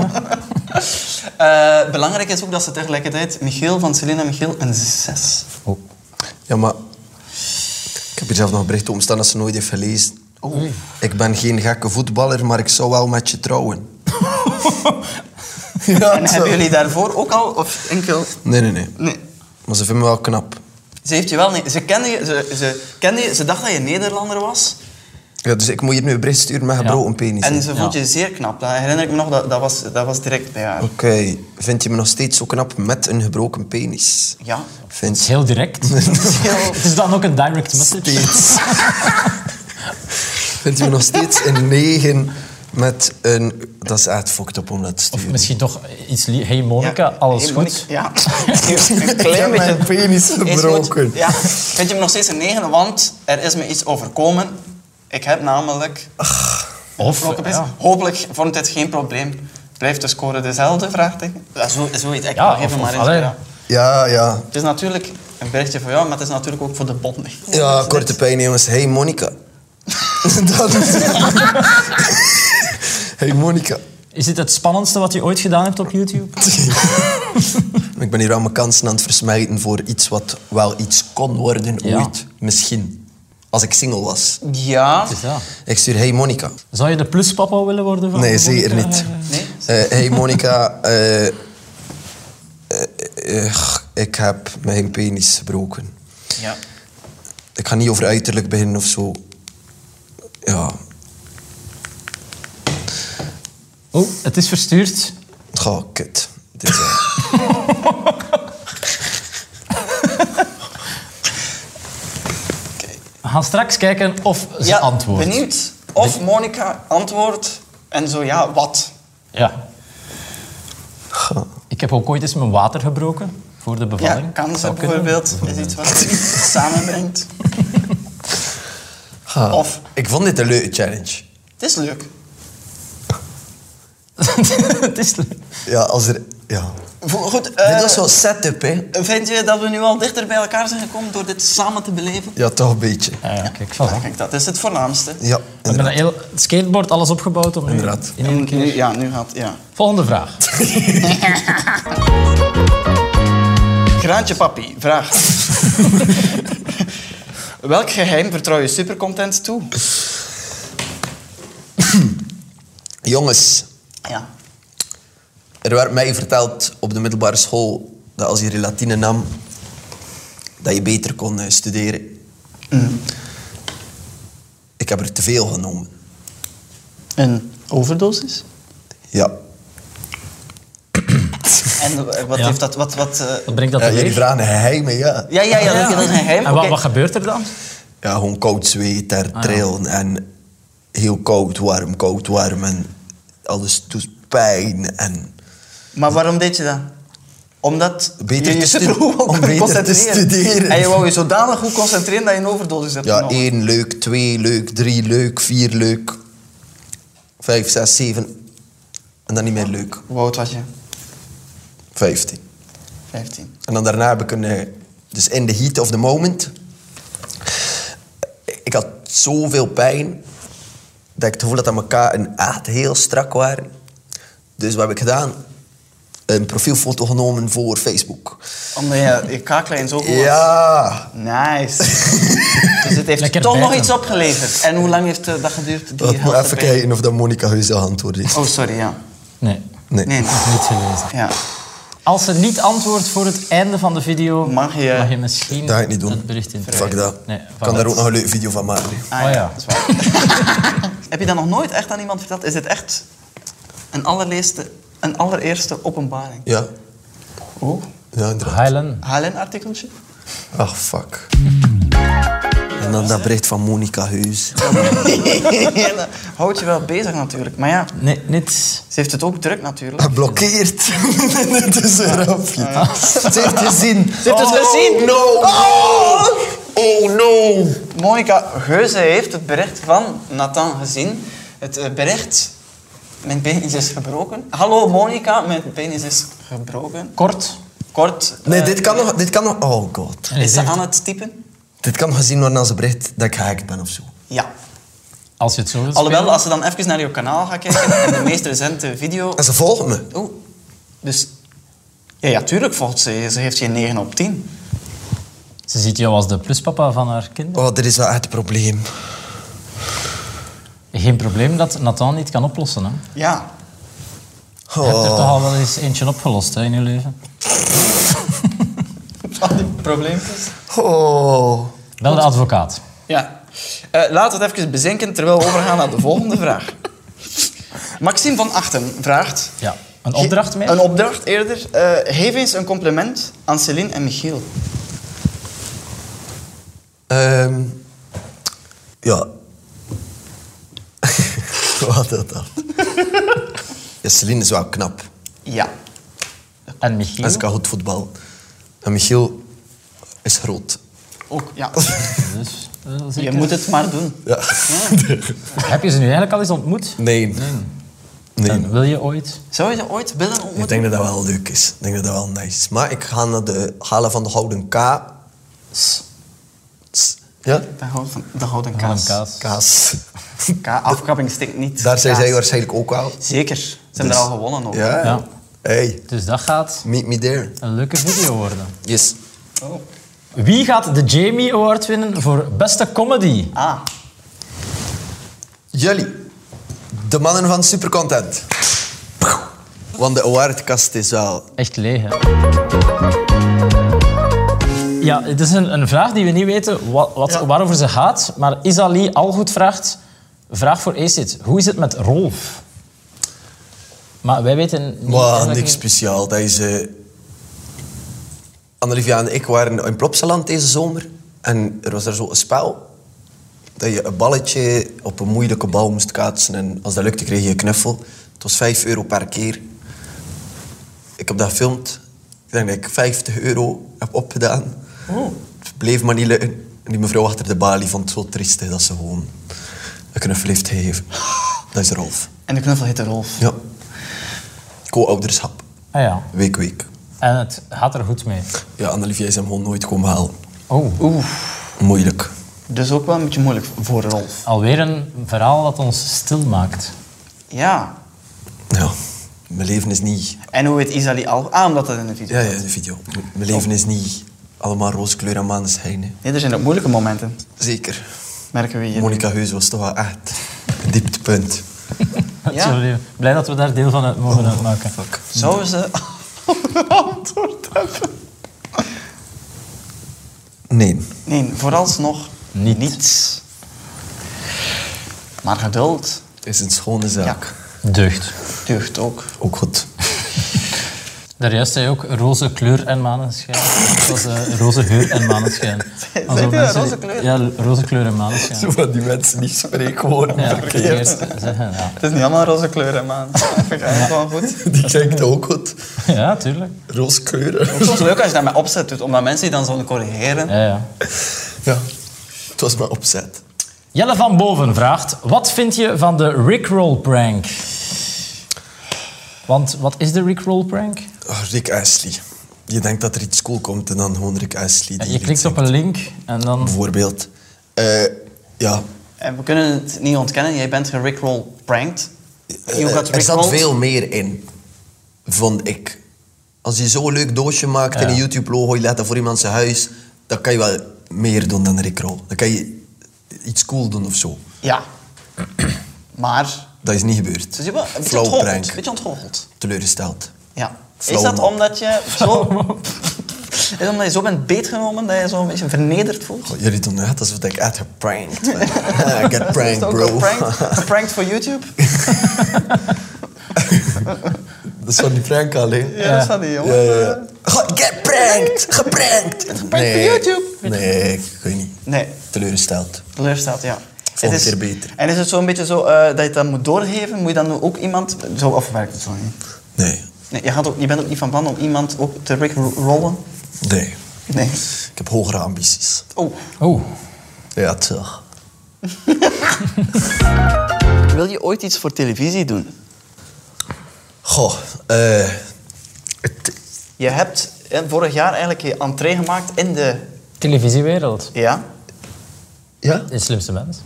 Speaker 5: Eh, belangrijk is ook dat ze tegelijkertijd Michiel van Selena Michiel een 6.
Speaker 4: Ja, maar ik heb hier zelf nog een bericht over staan dat ze nooit heeft gelezen.
Speaker 5: Oh.
Speaker 4: Ik ben geen gekke voetballer, maar ik zou wel met je trouwen. ja,
Speaker 5: En
Speaker 4: zo.
Speaker 5: hebben jullie daarvoor ook al, of enkel...
Speaker 4: Nee, nee, nee.
Speaker 5: Nee.
Speaker 4: Maar ze vinden me wel knap.
Speaker 5: Ze, heeft je wel niet, ze, kende je, ze, ze, kende je, ze dacht dat je Nederlander was.
Speaker 4: Ja, dus ik moet hier nu een bericht sturen met gebroken penis.
Speaker 5: En
Speaker 4: hè.
Speaker 5: ze vond je zeer knap. Dat herinner ik me nog, dat, dat, was, dat was direct bij haar.
Speaker 4: Oké, vind je me nog steeds zo knap met een gebroken penis?
Speaker 5: Ja.
Speaker 1: Het is
Speaker 4: Vind je?
Speaker 1: heel direct. Het is dan ook een direct message.
Speaker 4: Steeds. vind je me nog steeds een negen met een... Dat is echt fucked up om dat te
Speaker 1: Of
Speaker 4: sturen.
Speaker 1: misschien toch iets... li- Hey Monica,
Speaker 5: Ja.
Speaker 1: alles
Speaker 5: Hey,
Speaker 1: goed?
Speaker 5: Monica, Ja. een klein
Speaker 4: heb
Speaker 5: beetje.
Speaker 4: mijn penis
Speaker 5: Is goed.
Speaker 4: gebroken.
Speaker 5: Ja. Vind je me nog steeds een negen, want er is me iets overkomen. Ik heb namelijk...
Speaker 1: Of,
Speaker 5: gebroken been.
Speaker 1: ja.
Speaker 5: Hopelijk vormt dit geen probleem. Blijft de score dezelfde, vraagteken? Ja, zo, zoiets. Ik
Speaker 1: Ja,
Speaker 5: mag even
Speaker 1: of-
Speaker 5: maar
Speaker 1: of-
Speaker 5: eens.
Speaker 1: allee.
Speaker 5: ja.
Speaker 4: Ja, ja.
Speaker 5: Het is natuurlijk een berichtje voor jou, maar het is natuurlijk ook voor de bond.
Speaker 4: Ja, korte pijn, jongens. Hey, Monica. dat is... hey, Monica.
Speaker 1: Is dit het spannendste wat je ooit gedaan hebt op YouTube?
Speaker 4: Ik ben hier al mijn kansen aan het versmijten voor iets wat wel iets kon worden
Speaker 1: Ja.
Speaker 4: ooit. Misschien. Als ik single was.
Speaker 5: Ja.
Speaker 1: Dus ja.
Speaker 4: Ik stuur, hey Monica.
Speaker 1: Zou je de pluspapa willen worden van
Speaker 4: Nee,
Speaker 1: Oh, Monica?
Speaker 4: zeker niet.
Speaker 5: Nee?
Speaker 4: Eh, hey Monica, eh, eh, eh, ik heb mijn penis gebroken.
Speaker 5: Ja.
Speaker 4: Ik ga niet over uiterlijk beginnen of zo. Ja,
Speaker 1: Oh, het is verstuurd.
Speaker 4: Goh, kut. Dit is, eh,
Speaker 1: We gaan straks kijken of ze
Speaker 5: Ja,
Speaker 1: antwoordt.
Speaker 5: benieuwd. Of Monica antwoordt en zo ja, wat?
Speaker 1: Ja. Ik heb ook ooit eens mijn water gebroken voor de bevalling.
Speaker 5: Ja, kansen
Speaker 1: Zou kunnen.
Speaker 5: bijvoorbeeld is iets wat samenbrengt.
Speaker 4: ga.
Speaker 5: Of-
Speaker 4: Ik vond dit een leuke challenge.
Speaker 5: Het is leuk.
Speaker 1: het is leuk.
Speaker 4: Ja, als er... Ja.
Speaker 5: Vo- Goed, eh,
Speaker 4: dit was zo'n setup, hè?
Speaker 5: vind je dat we nu al dichter bij elkaar zijn gekomen door dit samen te beleven?
Speaker 4: Ja, toch een beetje.
Speaker 1: Ah ja, kijk, voilà.
Speaker 5: Kijk, dat is het voornaamste.
Speaker 4: Ja,
Speaker 1: We hebben een heel het skateboard alles opgebouwd om nu
Speaker 4: Inderdaad.
Speaker 1: in één
Speaker 5: Nu-
Speaker 1: keer.
Speaker 5: nu, ja, nu gaat... Ja.
Speaker 1: Volgende vraag.
Speaker 5: Graantje papi, vraag. Welk geheim vertrouw je supercontent toe?
Speaker 4: Jongens,
Speaker 5: Ja.
Speaker 4: er werd mij verteld op de middelbare school dat als je relatine nam, dat je beter kon eh, studeren.
Speaker 5: Mm.
Speaker 4: Ik heb er te veel genomen.
Speaker 5: Een overdosis?
Speaker 4: Ja.
Speaker 5: En eh, wat
Speaker 1: Ja.
Speaker 5: heeft dat... Wat, wat, eh,
Speaker 1: Wat brengt dat
Speaker 4: ja
Speaker 1: teweeg?
Speaker 4: jullie vragen een geheim, ja.
Speaker 5: Ja, ja, ja, dat is een geheim.
Speaker 1: En wat,
Speaker 5: Oké.
Speaker 1: wat gebeurt er dan?
Speaker 4: ja, gewoon koud zweet, daar trillen en heel koud, warm, koud, warm en alles doet pijn en
Speaker 5: Maar waarom deed je dat? Omdat
Speaker 4: Beter
Speaker 5: je je
Speaker 4: te
Speaker 5: zit
Speaker 4: stu-
Speaker 5: er goed op
Speaker 4: om
Speaker 5: kon
Speaker 4: beter te
Speaker 5: concentreren.
Speaker 4: studeren.
Speaker 5: En je wou je zodanig goed concentreren dat je een overdosis hebt
Speaker 4: ja, e-
Speaker 5: genomen.
Speaker 4: één leuk, twee leuk, drie leuk, vier leuk, vijf, zes, zeven en dan niet meer leuk,
Speaker 5: Hoe oud was je?
Speaker 4: vijftien.
Speaker 5: 15.
Speaker 4: En dan daarna heb ik een... eh, Dus in the heat of the moment. Ik had zoveel pijn. Dat ik het gevoel had dat elkaar een echt heel strak waren. Dus wat heb ik gedaan? Een profielfoto genomen voor Facebook.
Speaker 5: Omdat je, je kaaklijn
Speaker 1: Oh,
Speaker 5: zo goed was.
Speaker 4: Ja.
Speaker 5: Nice. dus het heeft
Speaker 1: Lekker
Speaker 5: toch nog
Speaker 1: bijten.
Speaker 5: iets opgeleverd. En hoe lang heeft eh, dat geduurd? Die
Speaker 4: Laat me
Speaker 5: helft
Speaker 4: Oh, even
Speaker 5: erbij?
Speaker 4: kijken of dat Monica Huize antwoord is.
Speaker 5: Oh, sorry, ja.
Speaker 1: Nee,
Speaker 4: Nee.
Speaker 5: Nee,
Speaker 1: niet gelezen.
Speaker 5: ja.
Speaker 1: Als ze niet antwoordt voor het einde van de video,
Speaker 5: Mag je-
Speaker 1: misschien
Speaker 4: Dat ga ik niet doen.
Speaker 1: dat bericht in.
Speaker 4: Fuck dat.
Speaker 1: Nee,
Speaker 4: ik
Speaker 1: voilà.
Speaker 4: kan daar ook nog een leuke video van maken.
Speaker 5: Ah,
Speaker 1: Oh ja.
Speaker 5: dat is waar. Heb je dat nog nooit echt aan iemand verteld? Is dit echt een allereerste, een allereerste openbaring?
Speaker 4: Ja.
Speaker 5: Oh.
Speaker 4: Ja, inderdaad.
Speaker 1: Heilen.
Speaker 5: HLN-artikeltje?
Speaker 4: Ach, fuck. En dan dat bericht van Monica Huize.
Speaker 5: Ja, dat houdt je wel bezig natuurlijk. Maar ja,
Speaker 1: Nee, niet.
Speaker 5: ze heeft het ook druk natuurlijk.
Speaker 4: Geblokkeerd. Het is een grapje. Ah. Ze heeft gezien. Ze
Speaker 5: heeft het gezien.
Speaker 4: No, no. Oh, no.
Speaker 5: Monika Geuze heeft het bericht van Nathan gezien. Het eh, bericht... Mijn penis is dus gebroken. Hallo Monika, mijn penis is dus gebroken.
Speaker 1: Kort.
Speaker 5: Kort.
Speaker 4: Nee,
Speaker 5: eh,
Speaker 4: dit kan nog... Dit kan nog oh, god.
Speaker 1: En hij
Speaker 5: Is ze
Speaker 1: zegt,
Speaker 5: aan het typen?
Speaker 4: Dit kan nog gezien worden als een bericht dat ik gehackt ben of zo.
Speaker 5: Ja.
Speaker 1: als je het zo wilt
Speaker 5: Alhoewel,
Speaker 1: spelen.
Speaker 5: als ze dan even naar jouw kanaal gaat kijken en de meest recente video...
Speaker 4: En ze volgt me.
Speaker 5: Oeh. Dus... Ja, ja, tuurlijk volgt ze. Ze heeft geen 9 op 10.
Speaker 1: Ze ziet jou als de pluspapa van haar kinderen.
Speaker 4: Oh, dit is wel echt een probleem.
Speaker 1: Geen probleem dat Nathan niet kan oplossen. Hè?
Speaker 5: Ja.
Speaker 1: Je hebt er toch
Speaker 4: Oh.
Speaker 1: al wel eens eentje opgelost hè, in je leven.
Speaker 5: Al die probleempjes.
Speaker 4: oh.
Speaker 1: Wel de advocaat.
Speaker 5: Ja. Eh laten we het even bezinken terwijl we overgaan naar de volgende vraag. Maxime van Achten vraagt...
Speaker 1: Ja. Een opdracht meer?
Speaker 5: Een opdracht eerder. Eh, geef eens een compliment aan Céline en Michiel.
Speaker 4: Ehm, ja. Wat dat dan? ja, Celine is wel knap.
Speaker 5: Ja.
Speaker 1: En
Speaker 4: En ze
Speaker 1: Michiel.
Speaker 4: kan goed voetbal. En Michiel is groot.
Speaker 5: Ook, ja.
Speaker 1: Dus, eh,
Speaker 5: Je
Speaker 1: zeker.
Speaker 5: moet het maar doen.
Speaker 4: Ja.
Speaker 1: Heb je ze nu eigenlijk al eens ontmoet?
Speaker 4: Nee. Nee.
Speaker 1: En wil je ooit?
Speaker 5: Zou je ze ooit willen
Speaker 4: Ik
Speaker 5: ontmoeten?
Speaker 4: denk dat dat wel leuk is. Ik denk dat dat wel nice is. Maar ik ga naar de halen van de Gouden K.
Speaker 5: S.
Speaker 4: S- Ja?
Speaker 5: De gouden, de gouden
Speaker 1: Van
Speaker 5: kaas.
Speaker 1: een kaas.
Speaker 4: Kaas.
Speaker 5: Ka- afkapping stinkt niet.
Speaker 4: Daar zijn
Speaker 5: Kaas.
Speaker 4: zij waarschijnlijk ook wel.
Speaker 5: Zeker. Ze hebben
Speaker 4: Dus-
Speaker 5: er al gewonnen ook.
Speaker 4: Ja.
Speaker 1: Ja.
Speaker 4: Hey,
Speaker 1: Dus dat gaat
Speaker 4: meet me there.
Speaker 1: een leuke video worden.
Speaker 4: Yes.
Speaker 5: Oh.
Speaker 1: Wie gaat de Jamie Award winnen voor beste comedy?
Speaker 5: Ah.
Speaker 4: Jullie, de mannen van Supercontent. Want de awardkast is wel...
Speaker 1: Echt leeg, hè? Ja, het is een, een vraag die we niet weten wa- wat, waarover ze gaat. Maar Isali Algoed vraagt... Vraag voor Acid. Hoe is het met Rolf? Maar wij weten niet...
Speaker 4: Maar
Speaker 1: eigenlijk
Speaker 4: niks
Speaker 1: niet-
Speaker 4: speciaal. Dat is... eh, Annelivia en ik waren in Plopsaland deze zomer. En er was daar zo'n spel. Dat je een balletje op een moeilijke bal moest kaatsen. En als dat lukte, kreeg je een knuffel. Het was 5 euro per keer. Ik heb dat gefilmd. Ik denk dat ik 50 euro heb opgedaan. Het bleef maar niet lukken. En die mevrouw achter de balie vond het zo triestig dat ze gewoon een knuffel heeft gegeven. Dat is Rolf.
Speaker 5: En de knuffel heet de Rolf.
Speaker 4: Ja. Co-ouderschap.
Speaker 1: Ah ja.
Speaker 4: Week, week.
Speaker 1: En het gaat er goed mee.
Speaker 4: Ja, Annelivier is hem gewoon nooit komen halen.
Speaker 1: Oh,
Speaker 5: Oeh.
Speaker 4: Moeilijk.
Speaker 5: Dus ook wel een beetje moeilijk voor Rolf.
Speaker 1: alweer een verhaal dat ons stil maakt.
Speaker 5: Ja.
Speaker 4: Ja. Mijn leven is niet...
Speaker 5: En hoe heet Isali al? Ah, omdat dat in de video
Speaker 4: Ja, ja, de video. M- Mijn leven is niet allemaal roze kleur en maneschijn. hè.
Speaker 5: Nee, er zijn ook moeilijke momenten.
Speaker 4: Zeker.
Speaker 5: Merken we hier.
Speaker 4: Monica Heus was toch wel echt een dieptepunt.
Speaker 5: Ja.
Speaker 1: Sorry, blij dat we daar deel van uit mogen uitmaken.
Speaker 4: Oh, Fuck.
Speaker 5: Zou ze antwoord hebben?
Speaker 4: Nee.
Speaker 5: Nee, vooralsnog
Speaker 1: Niet.
Speaker 5: niets. Maar geduld
Speaker 4: Is een schone zaak.
Speaker 5: Ja.
Speaker 1: Deugd.
Speaker 5: deugt ook.
Speaker 4: Ook goed.
Speaker 1: Daarjuist zei je ook roze kleur en maneschijn. Het was eh, roze geur en maneschijn.
Speaker 5: Zeg je dat,
Speaker 1: mensen
Speaker 5: roze
Speaker 1: die-
Speaker 5: kleur?
Speaker 1: Ja, l- roze kleur en maneschijn.
Speaker 4: Zo van die mensen die spreekwoorden
Speaker 1: Ja, dat kun je
Speaker 4: verkeerd.
Speaker 1: eerst zeggen, ja.
Speaker 5: Het is niet allemaal roze kleuren, man. Dat vind ik eigenlijk wel goed.
Speaker 4: Die kijkt ook goed.
Speaker 1: Ja, tuurlijk.
Speaker 4: Roze kleuren.
Speaker 5: Het is leuk als je dat met opzet doet, omdat mensen die dan zo'n corrigeren.
Speaker 1: Ja, ja.
Speaker 4: Ja, het was mijn opzet.
Speaker 1: Jelle van Boven vraagt, wat vind je van de Rickroll prank? Want wat is de Rickroll prank?
Speaker 4: Oh, Rick Ashley. Je denkt dat er iets cool komt en dan gewoon Rick Ashley.
Speaker 1: Ja,
Speaker 4: die
Speaker 1: je
Speaker 4: lied
Speaker 1: klikt op
Speaker 4: zingt.
Speaker 1: een link en dan...
Speaker 4: Bijvoorbeeld. Eh, ja.
Speaker 5: En we kunnen het niet ontkennen, jij bent gerickroll pranked. Je
Speaker 4: Eh,
Speaker 5: gaat
Speaker 4: er zat
Speaker 5: rickrolled.
Speaker 4: veel meer in, vond ik. Als je zo'n leuk doosje maakt en een YouTube-logo, je laat dat voor iemand zijn huis, dan kan je wel meer doen dan Rick Roll. Dan kan je iets cool doen of zo.
Speaker 5: Ja. Maar...
Speaker 4: Dat is niet gebeurd.
Speaker 5: Dus je bent een beetje
Speaker 4: Flauw
Speaker 5: onthoogeld. Een
Speaker 4: prank.
Speaker 5: beetje onthoogeld.
Speaker 4: Teleurgesteld.
Speaker 5: Ja. Is
Speaker 4: Flauw
Speaker 5: dat
Speaker 4: man.
Speaker 5: omdat je zo... Is dat omdat je zo bent beetgenomen dat je zo een beetje vernederd voelt?
Speaker 4: God, jullie doen net alsof ik echt geprankt ben. Ah, I get
Speaker 5: Is
Speaker 4: pranked,
Speaker 5: dat ook
Speaker 4: bro.
Speaker 5: een prank? Pranked voor YouTube?
Speaker 4: Dat is van die prank alleen.
Speaker 5: Ja, dat is van die jongen.
Speaker 4: Ja, ja, ja. God, get pranked! Geprankt! Geprankt
Speaker 5: voor YouTube.
Speaker 4: Nee, ik weet niet.
Speaker 5: Nee,
Speaker 4: Teleurgesteld.
Speaker 5: teleurstelt, ja.
Speaker 4: Volgende keer beter.
Speaker 5: En is het zo'n beetje zo eh, dat je het dan moet doorgeven? Moet je dan nu ook iemand... Zo, of werkt het zo niet?
Speaker 4: Nee,
Speaker 5: Nee, je, gaat ook, je bent ook niet van plan om iemand ook te rollen.
Speaker 4: nee.
Speaker 5: Nee.
Speaker 4: Ik heb hogere ambities.
Speaker 5: Oh.
Speaker 1: Oeh.
Speaker 4: Ja, toch.
Speaker 5: Wil je ooit iets voor televisie doen?
Speaker 4: Goh, eh... het-
Speaker 5: Je hebt eh, vorig jaar eigenlijk je entree gemaakt in de...
Speaker 1: Televisiewereld.
Speaker 5: Ja?
Speaker 4: ja?
Speaker 1: De slimste mens.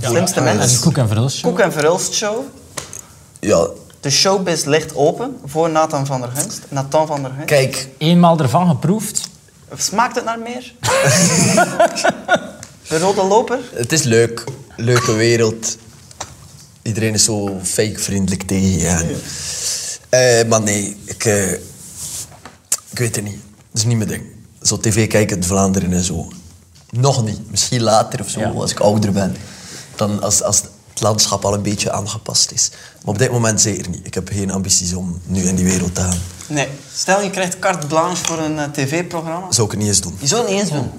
Speaker 5: Slimste
Speaker 1: Dat is
Speaker 5: mens.
Speaker 1: Koek en Verhulst show.
Speaker 5: Koek en Verhulst show.
Speaker 4: Ja,
Speaker 5: De showbiz ligt open voor Nathan van der Gunst. Nathan van der Gunst.
Speaker 4: kijk.
Speaker 1: Eenmaal ervan geproefd.
Speaker 5: Smaakt het naar meer? de rode loper?
Speaker 4: Het is leuk. Leuke wereld. Iedereen is zo fake-vriendelijk tegen je. En, Eh, maar nee, ik, eh, ik weet het niet. Dat is niet mijn ding. Zo tv kijken in Vlaanderen en zo. Nog niet. Misschien later of zo, als ik ouder ben. Dan als, als het landschap al een beetje aangepast is. Maar op dit moment zeker niet. Ik heb geen ambities om nu in die wereld te gaan.
Speaker 5: Nee. Stel, je krijgt carte blanche voor een eh, tv-programma.
Speaker 4: Zou ik het niet eens doen.
Speaker 5: Je zou het niet eens doen.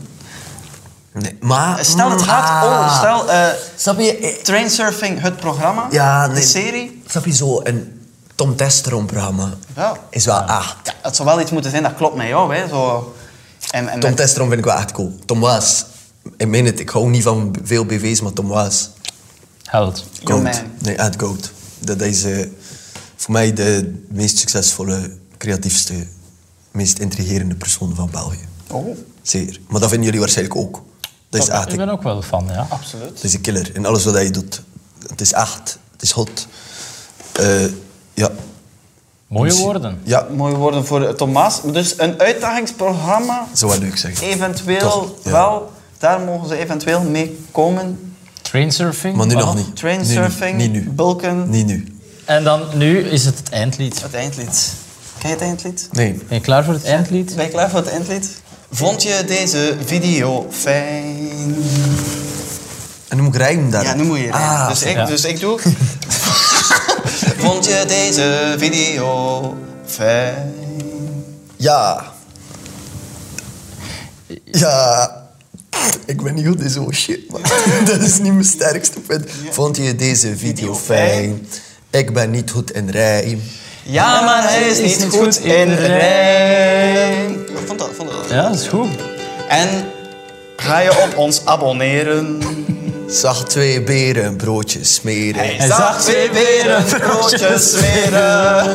Speaker 4: Nee. Maar...
Speaker 5: Stel, het gaat
Speaker 4: Ah.
Speaker 5: over... Stel, eh
Speaker 4: Snap je? Eh,
Speaker 5: Trainsurfing, het programma.
Speaker 4: Ja, nee.
Speaker 5: De serie.
Speaker 4: Snap je zo, een Tom Testeron-programma
Speaker 5: Ja.
Speaker 4: is wel ah, echt.
Speaker 5: Ja, het zou wel iets moeten zijn, dat klopt met jou. Hè. Zo, en, en
Speaker 4: Tom
Speaker 5: met-
Speaker 4: Testeron vind ik wel echt cool. Tom was, ik meen het, ik hou niet van veel BV's, maar Tom was.
Speaker 1: Held.
Speaker 5: Yo,
Speaker 4: Goat.
Speaker 5: man.
Speaker 4: Nee, echt goat. Dat is eh, voor mij de meest succesvolle, creatiefste, meest intrigerende persoon van België.
Speaker 5: Oh.
Speaker 4: Zeker. Maar dat vinden jullie waarschijnlijk ook. Dat is echt,
Speaker 1: Ik ben ook wel fan, ja.
Speaker 5: Absoluut.
Speaker 4: dat is een killer. In alles wat hij doet. Het is echt, het is hot. Eh, ja.
Speaker 1: Mooie woorden.
Speaker 4: Ja,
Speaker 5: Mooie woorden voor eh, Thomas. Dus een uitdagingsprogramma,
Speaker 4: zo wat leuk zeggen.
Speaker 5: eventueel
Speaker 4: Toch, ja.
Speaker 5: wel. Daar mogen ze eventueel mee komen.
Speaker 1: Trainsurfing.
Speaker 4: Maar nu
Speaker 1: wat
Speaker 4: nog
Speaker 1: dan?
Speaker 4: niet.
Speaker 5: Trainsurfing,
Speaker 4: Nee, nee, niet nu.
Speaker 5: bulken.
Speaker 4: Niet nu.
Speaker 1: En dan, nu is het het eindlied.
Speaker 5: Het eindlied. Ken je het eindlied?
Speaker 4: Nee.
Speaker 1: Ben je klaar voor het eindlied?
Speaker 5: Ben je klaar voor het eindlied? Vond je deze video fijn?
Speaker 4: En dan moet ik rijden daar.
Speaker 5: Ja, nu moet je rijden.
Speaker 4: Ah,
Speaker 5: dus, ik,
Speaker 1: ja.
Speaker 5: dus ik doe... Vond je deze video fijn?
Speaker 4: Ja. Ja. Ik ben niet goed in zo'n shit, man. Dat is niet mijn sterkste punt. Vond je deze video fijn? Ik ben niet goed in rijden.
Speaker 5: Ja, maar hij is niet goed in rijm. Ik vond dat, vond dat.
Speaker 1: Ja, dat is goed.
Speaker 5: En ga je op ons abonneren?
Speaker 4: Zag twee beren een broodje smeren.
Speaker 5: Hij zag twee beren broodjes smeren.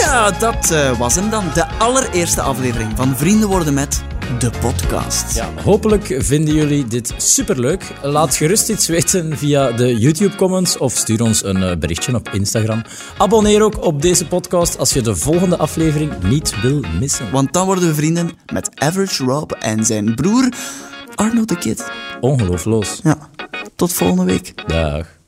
Speaker 2: Ja, dat eh, was hem dan. De allereerste aflevering van Vrienden worden met de podcast.
Speaker 3: Ja, hopelijk vinden jullie dit superleuk. Laat gerust iets weten via de YouTube-comments of stuur ons een eh, berichtje op Instagram. Abonneer ook op deze podcast als je de volgende aflevering niet wil missen.
Speaker 2: Want dan worden we vrienden met Average Rob en zijn broer Arno de Kid.
Speaker 3: Ongeloofloos.
Speaker 2: Ja, tot volgende week.
Speaker 3: Dag.